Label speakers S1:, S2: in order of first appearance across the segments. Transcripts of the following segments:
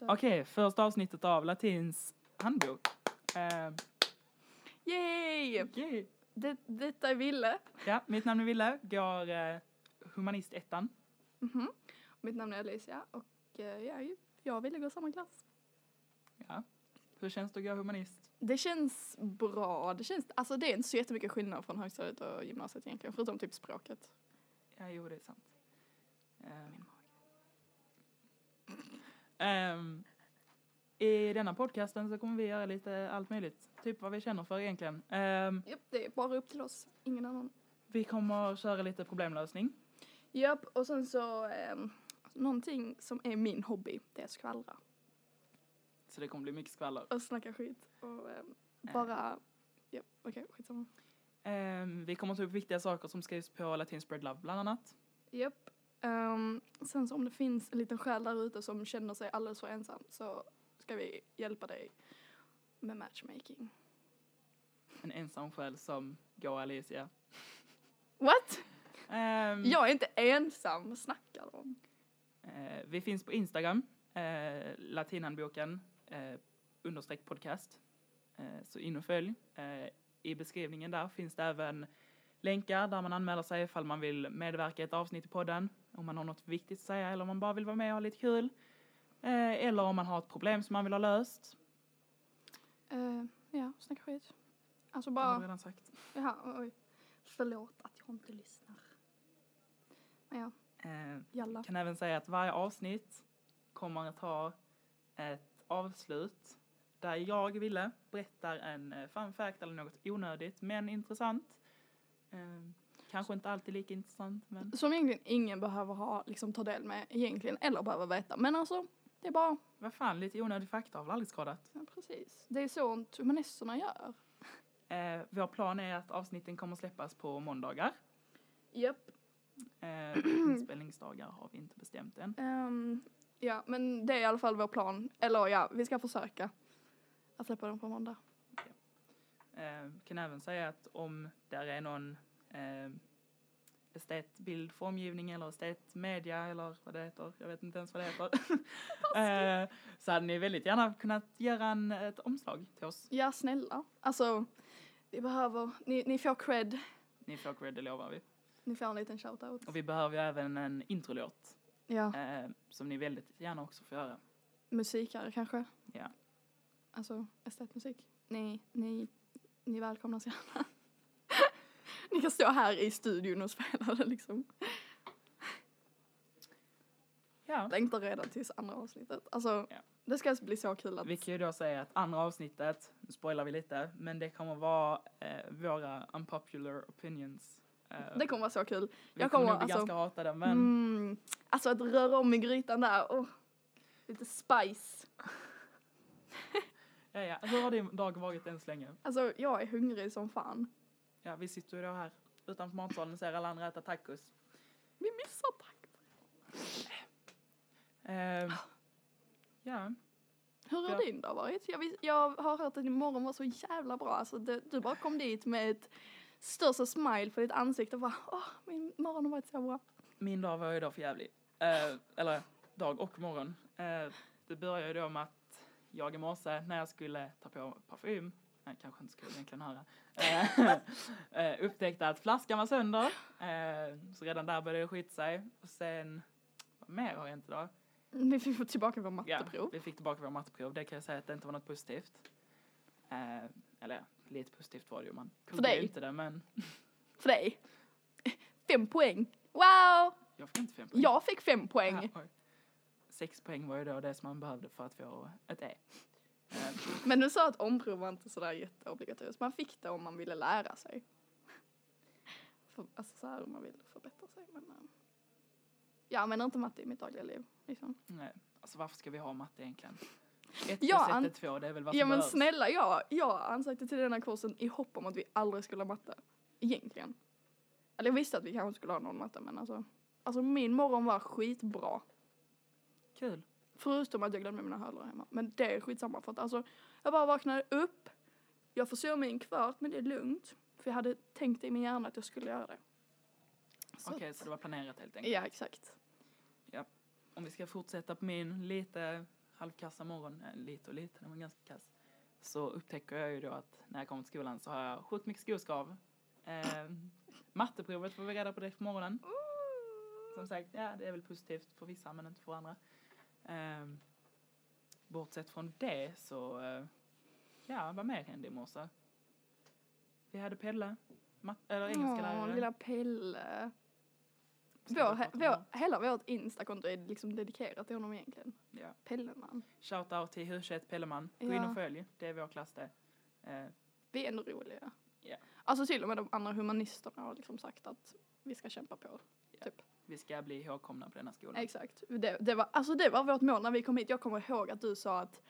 S1: Okej, första avsnittet av Latins handbok. Eh,
S2: Yay!
S1: yay.
S2: Det, detta är Ville.
S1: Ja, mitt namn är Ville, går eh, humanistettan.
S2: Mhm. Mitt namn är Alicia och eh, jag, är- jag ville gå samma klass.
S1: Ja. Hur känns det att gå humanist?
S2: Det känns bra. Det, känns, alltså det är inte så jättemycket skillnad från högstadiet och gymnasiet egentligen, förutom typ språket.
S1: Ja, jo, det är sant. Eh, Ehm, I denna podcasten så kommer vi göra lite allt möjligt. Typ vad vi känner för egentligen. Ehm,
S2: Japp, det är bara upp till oss, ingen annan.
S1: vi kommer köra lite problemlösning.
S2: Japp, och sen så ehm, någonting som är min hobby, det är att skvallra
S1: Så det kommer bli mycket skvaller.
S2: och snacka skit och ehm, bara, japp, okej, skitsamma.
S1: Ehm, vi kommer ta upp viktiga saker som skrivs på Latin Spread Love bland annat.
S2: Japp. Ehm, sen så om det finns en liten själ där ute som känner sig alldeles för ensam så ska vi hjälpa dig med matchmaking.
S1: En ensam själ som går Alicia.
S2: What?
S1: Ehm,
S2: Jag är inte ensam, vad snackar du om?
S1: eh, vi finns på Instagram, eh, latinhandboken, eh, understreck podcast. Eh, så in och följ. Eh, I beskrivningen där finns det även länkar där man anmäler sig ifall man vill medverka i ett avsnitt i podden, om man har något viktigt att säga eller om man bara vill vara med och ha lite kul. Eh, eller om man har ett problem som man vill ha löst.
S2: Eh, ja, snacka skit. Alltså
S1: Det har vi
S2: bara,
S1: redan sagt.
S2: ja, oj. Förlåt att jag inte lyssnar. Men ja,
S1: Eh,
S2: jalla.
S1: kan även säga att varje avsnitt kommer att ha ett avslut där jag, Ville, berättar en eh, fun fact eller något onödigt men intressant. Eh, kanske inte alltid lika intressant men
S2: Som egentligen ingen behöver ha, liksom ta del med egentligen, eller behöver veta. Men alltså, det är bara,
S1: vad fan, lite onödig fakta har väl aldrig skadat.
S2: ja, precis. Det är sånt humanisterna gör.
S1: Eh, vår plan är att avsnitten kommer släppas på måndagar.
S2: Japp.
S1: Eh, inspelningsdagar har vi inte bestämt än.
S2: Ehm, ja, men det är i alla fall vår plan. Eller ja, vi ska försöka att släppa dem på måndag.
S1: Eh, kan även säga att om där är någon eh, estetbild, formgivning eller estetmedia eller vad det heter, jag vet inte ens vad det heter. eh, så hade ni väldigt gärna kunnat göra en, ett omslag till oss.
S2: Ja, snälla. Alltså, vi behöver, ni, ni får cred,
S1: Ni får cred, det lovar vi.
S2: ni får en liten shoutout.
S1: Och vi behöver ju även en introlåt
S2: Ja,
S1: eh, som ni väldigt gärna också får göra.
S2: musikare kanske.
S1: Ja.
S2: Alltså, estetmusik. Ni, ni, ni välkomnas gärna. ni kan stå här i studion och spela det liksom.
S1: Ja.
S2: Längtar redan tills andra avsnittet. Alltså,
S1: Ja.
S2: det ska bli så kul att...
S1: Vi kan ju då säga att andra avsnittet, nu spoilar vi lite, men det kommer vara eh, våra unpopular opinions. Eh,
S2: Det kommer vara så kul.
S1: vi
S2: jag
S1: kommer
S2: kommer,
S1: nog bli
S2: alltså-
S1: ganska hatade men
S2: Mm. Alltså att röra om i grytan där. Oh. Lite spice.
S1: Ja, ja. Hur har din dag varit än så länge?
S2: Alltså jag är hungrig som fan.
S1: Ja, vi sitter ju då här utanför matsalen och ser alla andra äta tacos.
S2: Vi missar tacos.
S1: Ehm, ja,
S2: Hur har
S1: Ja.
S2: din dag varit? Jag, vis- jag har hört att din morgon var så jävla bra. Alltså det, du bara kom dit med ett största smile på ditt ansikte och bara åh, min morgon har varit så bra.
S1: min dag var ju då för jävlig. Eh, eller dag och morgon. Eh, det började ju då med att jag i morse när jag skulle ta på parfym, nej kanske inte skulle egentligen höra, eh, eh, upptäckte att flaskan var sönder. Eh, så redan där började det skita sig. Och sen, vad mer har hänt idag?
S2: Mm, Vi fick få tillbaka vår
S1: Ja,
S2: matteprov.
S1: vi fick tillbaka våra matteprov. Det kan jag säga att det inte var något positivt. Eh, eller ja, lite positivt var det ju. Man kunde ju
S2: dig?
S1: inte det men
S2: För dig. Fem poäng. Wow!
S1: jag fick inte fem poäng.
S2: Jag fick fem poäng.
S1: Ja, oj. Sex poäng var ju då det som man behövde för att få ett E. Eh,
S2: Men du sa att omprov var inte sådär jätteobligatoriskt. Man fick det om man ville lära sig. För, alltså såhär om man vill förbättra sig. Men, eh, jag använder inte matte i mitt dagliga liv. Liksom.
S1: nej. Alltså varför ska vi ha matte egentligen? Ett
S2: Ja,
S1: plus
S2: an-
S1: ett är två, det är väl vad som
S2: Ja men
S1: behövs.
S2: snälla jag, jag ansökte till den här kursen i hopp om att vi aldrig skulle ha matte. Egentligen. Eller jag visste att vi kanske skulle ha någon matte men alltså. Alltså min morgon var skitbra.
S1: Kul.
S2: Förutom att jag glömde mina hörlurar hemma. Men det är skitsamma för att alltså, jag bara vaknade upp. Jag får sova mig en kvart men det är lugnt. För jag hade tänkt i min hjärna att jag skulle göra det. Så
S1: Okej,
S2: att-
S1: så det var planerat helt enkelt.
S2: Ja, exakt.
S1: Om vi ska fortsätta på min lite halvkassa morgon, eh, lite och lite, den var ganska kass, så upptäcker jag ju då att när jag kommer till skolan så har jag sjukt mycket skoskav. Eh, matteprovet får vi reda på direkt på morgonen.
S2: Mm.
S1: Som sagt, ja det är väl positivt för vissa men inte för andra. Ehm, bortsett från det så, eh, ja vad mer hände i morse? Vi hade Pelle, mat- eller
S2: Åh,
S1: engelskalärare.
S2: lilla Pelle.
S1: som vi har
S2: Vår,
S1: pratat om här.
S2: vår, hela vårt instakonto är liksom dedikerat till honom egentligen.
S1: Ja.
S2: Pelleman.
S1: Shoutout till Hurset Pelleman. Gå in
S2: Ja.
S1: och följ, det är vår klass det. Eh,
S2: Vi är ändå roliga.
S1: Ja.
S2: Alltså till och med de andra humanisterna har liksom sagt att vi ska kämpa på.
S1: vi ska bli ihågkomna på denna skolan.
S2: Exakt. Det, det, var, alltså det var vårt mål när vi kom hit. Jag kommer ihåg att du sa att,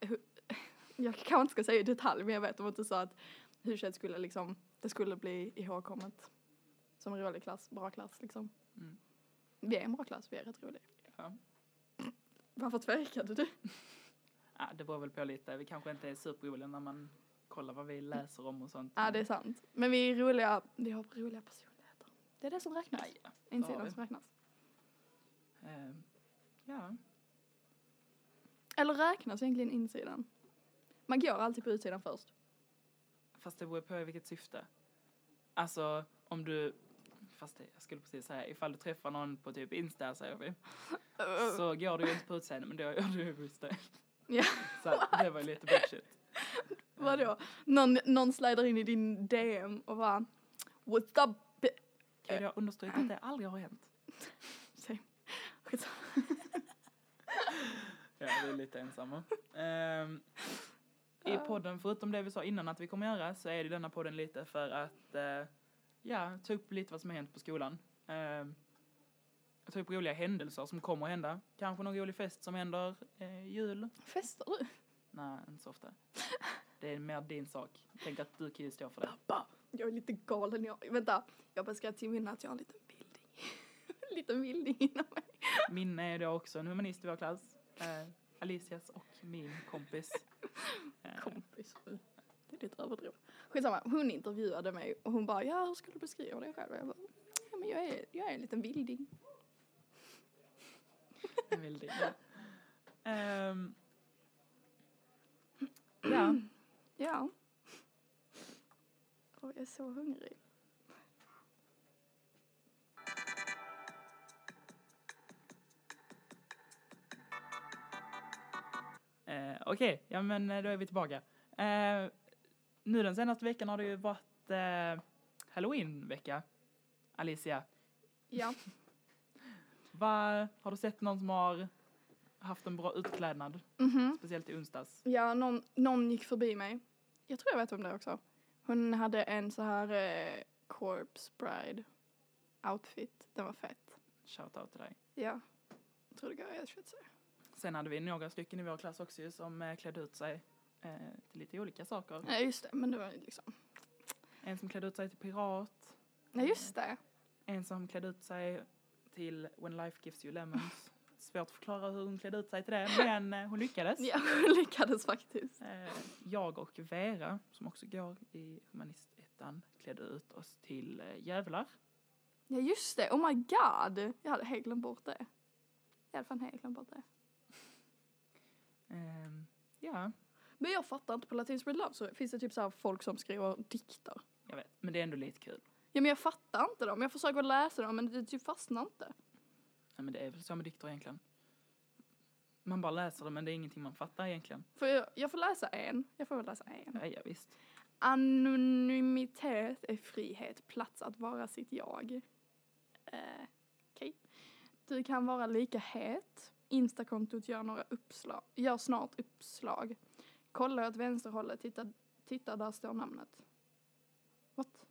S2: hu- jag kanske inte ska säga i detalj men jag vet om att du sa att Hurset skulle liksom, det skulle bli ihågkommet. Som en rolig klass, bra klass liksom.
S1: Mm.
S2: Vi är en bra klass, vi är rätt roliga.
S1: Ja.
S2: Varför tvekade du?
S1: Ja, det beror väl på lite, vi kanske inte är superroliga när man kollar vad vi läser om och sånt.
S2: Ja det är sant. Men vi är roliga, vi har roliga personligheter. Det är det som räknas.
S1: Ja, ja. har
S2: Insidan
S1: vi.
S2: som räknas.
S1: Eh, ja.
S2: Eller räknas egentligen insidan? Man går alltid på utsidan först.
S1: Fast det beror på i vilket syfte. Alltså om du, fast det, jag skulle precis säga, ifall du träffar någon på typ Insta säger vi, så går du ju inte på utseendet men då gör du ju på utseendet.
S2: Ja.
S1: Så att det var ju lite bullshit.
S2: Vadå? Någon, någon slider in i din DM och bara What's up? bi-"
S1: Kan jag understryka att det aldrig har hänt?
S2: Säg. Skitsamma.
S1: Ja, vi är lite ensamma. Ehm, I
S2: Ja.
S1: podden, förutom det vi sa innan att vi kommer göra, så är det denna podden lite för att eh, ja, ta upp lite vad som har hänt på skolan. Ehm, ta upp roliga händelser som kommer att hända. Kanske någon rolig fest som händer, eh, jul.
S2: Festar du?
S1: Nej, inte så ofta. Det är mer din sak. Tänk att du kan ju stå för det.
S2: Pappa, jag är lite galen. Jag, vänta, jag beskrev till minne att jag har en liten vilding. en liten vilding inom mig.
S1: Minne är då också en humanist i vår klass. Eh, Alicias och min kompis. Eh,
S2: Kompis. Det är lite överdrivet. Skitsamma, hon intervjuade mig och hon bara ja hur skulle du beskriva dig själv? Och Jag bara, ja, men jag, är, jag är en liten vilding.
S1: Jag vill det. Ehm, ja,
S2: Ja. Och jag är så hungrig.
S1: eh, okej, ja men eh, då är vi tillbaka. Eh, nu den senaste veckan har det ju varit eh, halloween-vecka, Alicia.
S2: Ja.
S1: Va, har du sett någon som har haft en bra utklädnad,
S2: Mhm.
S1: speciellt i onsdags?
S2: Ja, någon, någon gick förbi mig. Jag tror jag vet om det också. Hon hade en så här eh, corpse bride outfit. Den var fett.
S1: Shoutout till dig.
S2: Ja. Jag tror det går att säga.
S1: Sen hade vi några stycken i vår klass också ju som eh, klädde ut sig eh, till lite olika saker.
S2: Nej, just det. Men det var ju liksom.
S1: En som klädde ut sig till pirat,
S2: Nej, just det.
S1: en som klädde ut sig till When Life Gives You Lemons. Svårt att förklara hur hon klädde ut sig till det, men eh, hon lyckades.
S2: Ja, hon lyckades faktiskt.
S1: Eh, jag och Vera, som också går i humanistettan, klädde ut oss till eh, djävlar.
S2: Ja, just det. Oh my god. Jag hade helt glömt bort det. Jag hade fan helt glömt bort det.
S1: Eh, ja,
S2: Men jag fattar inte. På Latin Spread Love så finns det typ så här folk som skriver dikter.
S1: jag vet. Men det är ändå lite kul.
S2: Ja, men jag fattar inte dem. Jag försöker läsa dem, men det typ fastnar inte.
S1: Ja, men det är väl så med dikter egentligen. Man bara läser det, men det är ingenting man fattar egentligen.
S2: För jag, jag får läsa en. Jag får väl läsa en.
S1: Ja, ja visst.
S2: Anonymitet är frihet, plats att vara sitt jag. Eh, Okej. Du kan vara lika het. Instakontot gör några uppslag, gör snart uppslag. Kolla åt vänsterhållet, titta, titta där står namnet. What?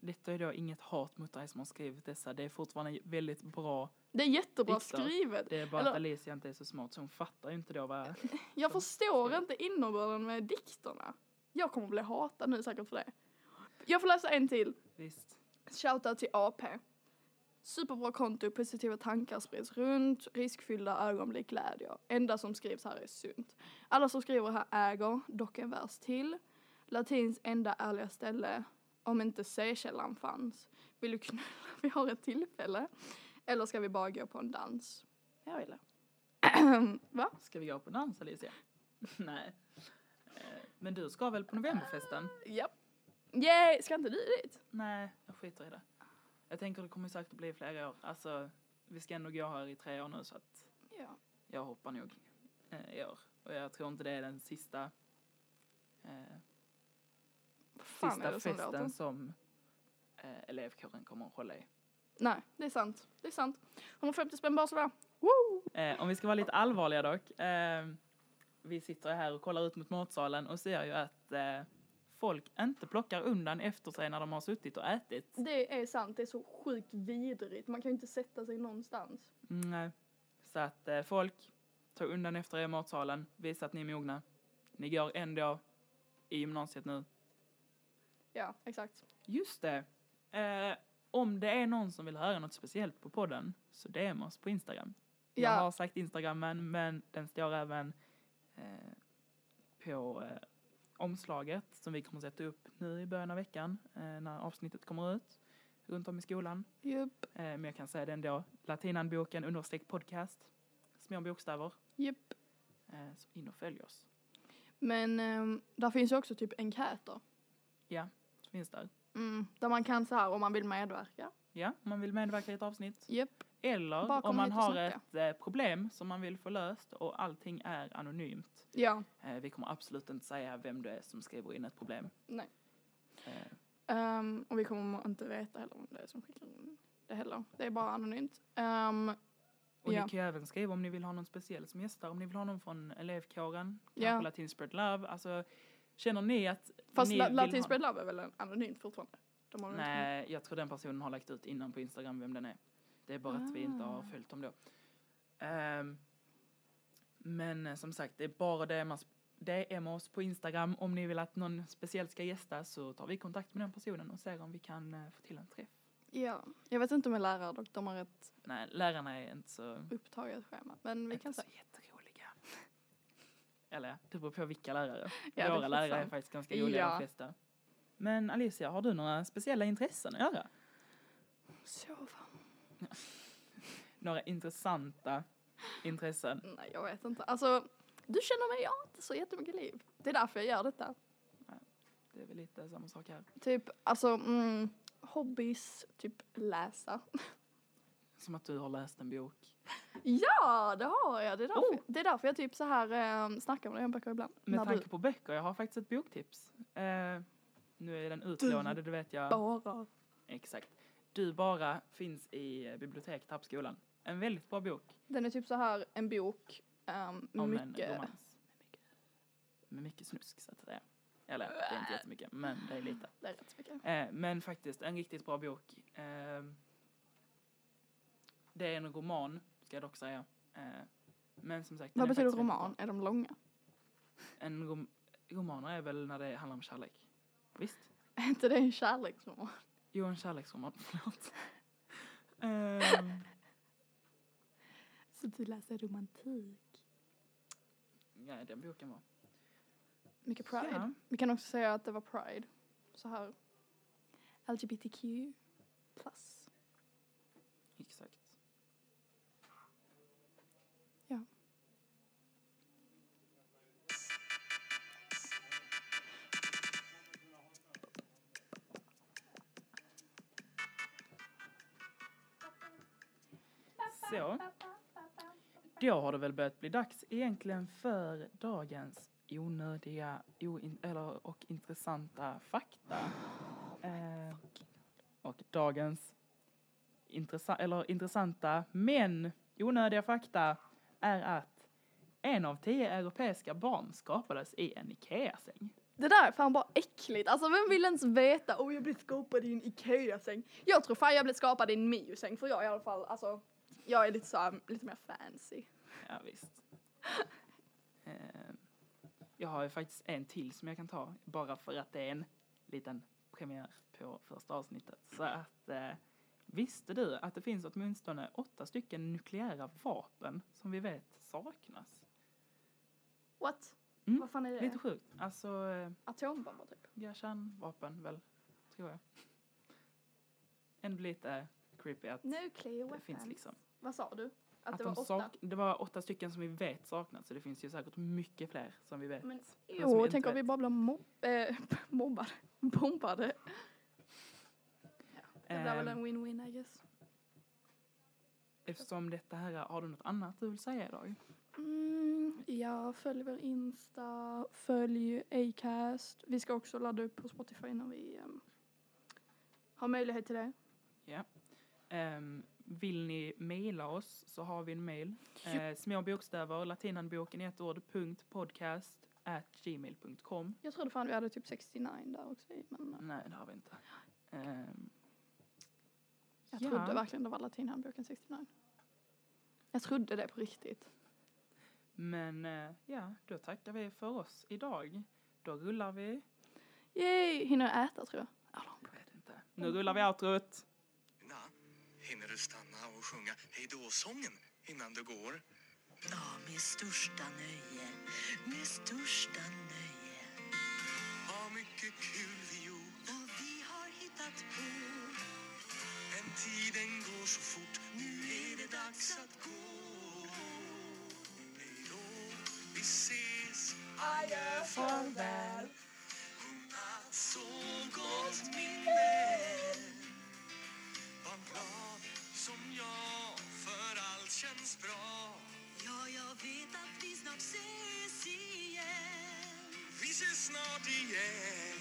S1: Detta är då inget hat mot dig som har skrivit dessa. Det är fortfarande väldigt bra.
S2: Det är jättebra
S1: Dikter.
S2: skrivet.
S1: Det är bara
S2: Eller-
S1: att Alicia inte är så smart så hon fattar ju inte då vad...
S2: Jag förstår
S1: skriver.
S2: inte innebörden med dikterna. Jag kommer bli hatad nu säkert för det. Jag får läsa en till.
S1: Visst.
S2: Shoutout till AP. Superbra konto, positiva tankar sprids runt, riskfyllda ögonblick glädjer. Enda som skrivs här är sunt. Alla som skriver här äger, dock en vers till. Latins enda ärliga ställe, om inte C-källan fanns. Vill du knulla? Vi har ett tillfälle. Eller ska vi bara gå på en dans? Jag vill det. Va?
S1: Ska vi gå på dans Alicia? Nej. Eh, Men du ska väl på novemberfesten?
S2: Japp. Yay, ska inte du dit?
S1: Nej, jag skiter i det. Jag tänker det kommer säkert bli flera år. Alltså, vi ska ändå gå här i tre år nu så att
S2: Ja.
S1: jag hoppar nog eh, i år. Och jag tror inte det är den sista, eh,
S2: Vad fan
S1: sista
S2: är det som låter?
S1: festen som eh, elevkåren kommer att hålla i.
S2: Nej, det är sant. Det är sant. 150 spänn bara sådär. Woo!
S1: Eh, om vi ska vara lite allvarliga dock. Eh, vi sitter här och kollar ut mot matsalen och ser ju att eh, folk inte plockar undan efter sig när de har suttit och ätit.
S2: Det är sant, det är så sjukt vidrigt. Man kan ju inte sätta sig någonstans.
S1: Mm, nej. så att eh, folk, ta undan efter er i matsalen, visa att ni är mogna. Ni går ändå i gymnasiet nu.
S2: Ja, exakt.
S1: Just det. Eh, om det är någon som vill höra något speciellt på podden så DM oss på Instagram. Jag
S2: Ja.
S1: har sagt Instagrammen men den står även eh, på eh, omslaget som vi kommer sätta upp nu i början av veckan eh, när avsnittet kommer ut runt om i skolan.
S2: Jupp,
S1: Eh, men jag kan säga det ändå. Latinanboken understreck podcast. Små bokstäver.
S2: jupp.
S1: Eh, så in och följ oss.
S2: Men ehm, där finns ju också typ enkäter.
S1: Så finns där.
S2: Mm, där man kan så här om man vill medverka.
S1: Ja, om man vill medverka i ett avsnitt.
S2: Jupp.
S1: Eller
S2: Bara
S1: om
S2: komma
S1: man
S2: hit och
S1: har
S2: snacka.
S1: ett eh, problem som man vill få löst och allting är anonymt.
S2: Ja.
S1: Eh, vi kommer absolut inte säga vem det är som skriver in ett problem.
S2: Nej.
S1: Eh,
S2: Ehm, och vi kommer inte veta heller om det är som skickar in det heller. Det är bara anonymt. Ehm,
S1: och
S2: Ja.
S1: ni kan ju även skriva om ni vill ha någon speciell som gästar, om ni vill ha någon från elevkåren, kanske
S2: Ja.
S1: Latin Spread Love. Alltså, känner ni att
S2: fast
S1: ni
S2: La-
S1: vill
S2: Latin
S1: ha-
S2: Spread Love är väl anonymt fortfarande? De har väl inte-
S1: Nej, jag tror den personen har lagt ut innan på Instagram vem den är. Det är bara att vi inte har
S2: Ah.
S1: följt dem då. Ehm, men eh, som sagt, det är bara DM oss, DM oss på Instagram. Om ni vill att någon speciellt ska gästa så tar vi kontakt med den personen och ser om vi kan eh, få till en träff.
S2: Ja. Jag vet inte med lärare dock, de har ett
S1: Nej, lärarna är inte så,
S2: upptaget schema. Men vi
S1: inte
S2: kan
S1: så
S2: se.
S1: jätteroliga. Eller det beror på vilka lärare.
S2: det är
S1: Våra lärare är
S2: sant.
S1: faktiskt ganska roliga
S2: Ja.
S1: de flesta. Men Alicia, har du några speciella intressen att göra?
S2: Sova?
S1: Några intressanta intressen?
S2: Nej, jag vet inte. Alltså, du känner mig, jag har inte så jättemycket liv. Det är därför jag gör detta.
S1: Det är väl lite samma sak här.
S2: Typ, alltså, mm, hobbies, typ läsa.
S1: Som att du har läst en bok.
S2: Ja, det har jag. Det är därför,
S1: Oh.
S2: det är därför jag typ så här um, snackar med dig om böcker ibland.
S1: Med
S2: när
S1: tanke
S2: du
S1: på böcker, jag har faktiskt ett boktips. Eh, nu är den utlånad, det vet jag.
S2: bara...
S1: Exakt. Du bara finns i eh, biblioteket här på skolan. En väldigt bra bok
S2: Den är typ så här en bok, um,
S1: om en
S2: mycket.
S1: romans. Med mycket snusk så att säga. Eller det är inte
S2: Äh.
S1: jättemycket, men det är lite.
S2: Det är rätt så mycket.
S1: Eh, men faktiskt en riktigt bra bok. Eh, det är en roman, ska jag dock säga. Eh, men som sagt. den
S2: Vad
S1: är
S2: betyder
S1: faktiskt väldigt bra.
S2: roman? Är de långa?
S1: En rom romaner är väl när det handlar om kärlek? Visst?
S2: Är inte det en kärleksroman?
S1: Jo, en kärleksroman, förlåt. Ehm,
S2: Så du läser romantik?
S1: nej, den boken var.
S2: Mycket pride.
S1: Ja.
S2: Vi kan också säga att det var pride. Så här LGBTQ plus.
S1: Exakt.
S2: Ja.
S1: Så. Då har det väl börjat bli dags egentligen för dagens onödiga oin- eller, och intressanta fakta. Eh, och dagens intressa- eller intressanta men onödiga fakta är att en av tio europeiska barn skapades i en Ikea-säng.
S2: Det där är fan bara äckligt. Alltså vem vill ens veta? Åh jag blev skapad i en Ikea-säng. Jag tror fan jag blev skapad i en Mio-säng för jag i alla fall, alltså jag är lite så här, lite mer fancy.
S1: Ja, visst. Eh, jag har ju faktiskt en till som jag kan ta, bara för att det är en liten premiär på första avsnittet. Så att, eh, visste du att det finns åtminstone åtta stycken nukleära vapen som vi vet saknas?
S2: What?
S1: Mm.
S2: Vad fan är det?
S1: Lite sjukt. Alltså, eh,
S2: Atombomber typ.
S1: ja, kärnvapen väl, tror jag. Ändå lite creepy att
S2: Nuclear
S1: det finns
S2: weapons.
S1: liksom.
S2: Vad sa du? Att,
S1: Att
S2: det
S1: de
S2: var åtta.
S1: sak- det var åtta stycken som vi vet saknas, så det finns ju säkert mycket fler som vi vet.
S2: Men
S1: som vi
S2: jo,
S1: inte
S2: tänk om
S1: vet.
S2: vi bara blev mob- eh, mobbade. Bombade. Det blir
S1: Ehm,
S2: väl en win-win I guess.
S1: Eftersom detta här, har du något annat du vill säga idag?
S2: Mm, ja, följ vår Insta, följ Acast. Vi ska också ladda upp på Spotify när vi ehm, har möjlighet till det.
S1: Ehm, vill ni mejla oss så har vi en mejl. Eh, små bokstäver, latinanboken i ett ord, punkt podcast at gmail.com.
S2: Jag trodde fan vi hade typ 69 där också i, men eh,
S1: Nej, det har vi inte. Ehm,
S2: jag
S1: ja.
S2: trodde verkligen det var latinhandboken 69. Jag trodde det på riktigt.
S1: Men eh, ja, då tackar vi för oss idag. Då rullar vi.
S2: Yay! Hinner jag äta tror jag.
S1: Jag vet inte. Nu rullar vi outrot.
S3: Na, hinner du stanna och sjunga hejdå-sången innan du går?
S4: Ja, med största nöje, med största nöje.
S3: Vad mycket kul vi gjort,
S4: Vad vi har hittat på.
S3: men tiden går så fort. Nu är det dags att gå. Hejdå, vi ses. Adjö, farväl. Godnatt, sov gott min vän. Var glad som jag, för allt känns bra.
S4: Ja, jag vet att vi snart ses igen.
S3: Vi ses snart igen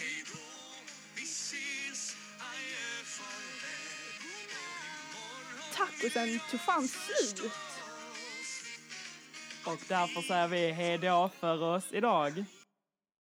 S3: Hej då, vi ses, adjö, farväl
S2: Tacosen tog fan slut!
S1: Och därför säger vi hejdå för oss idag.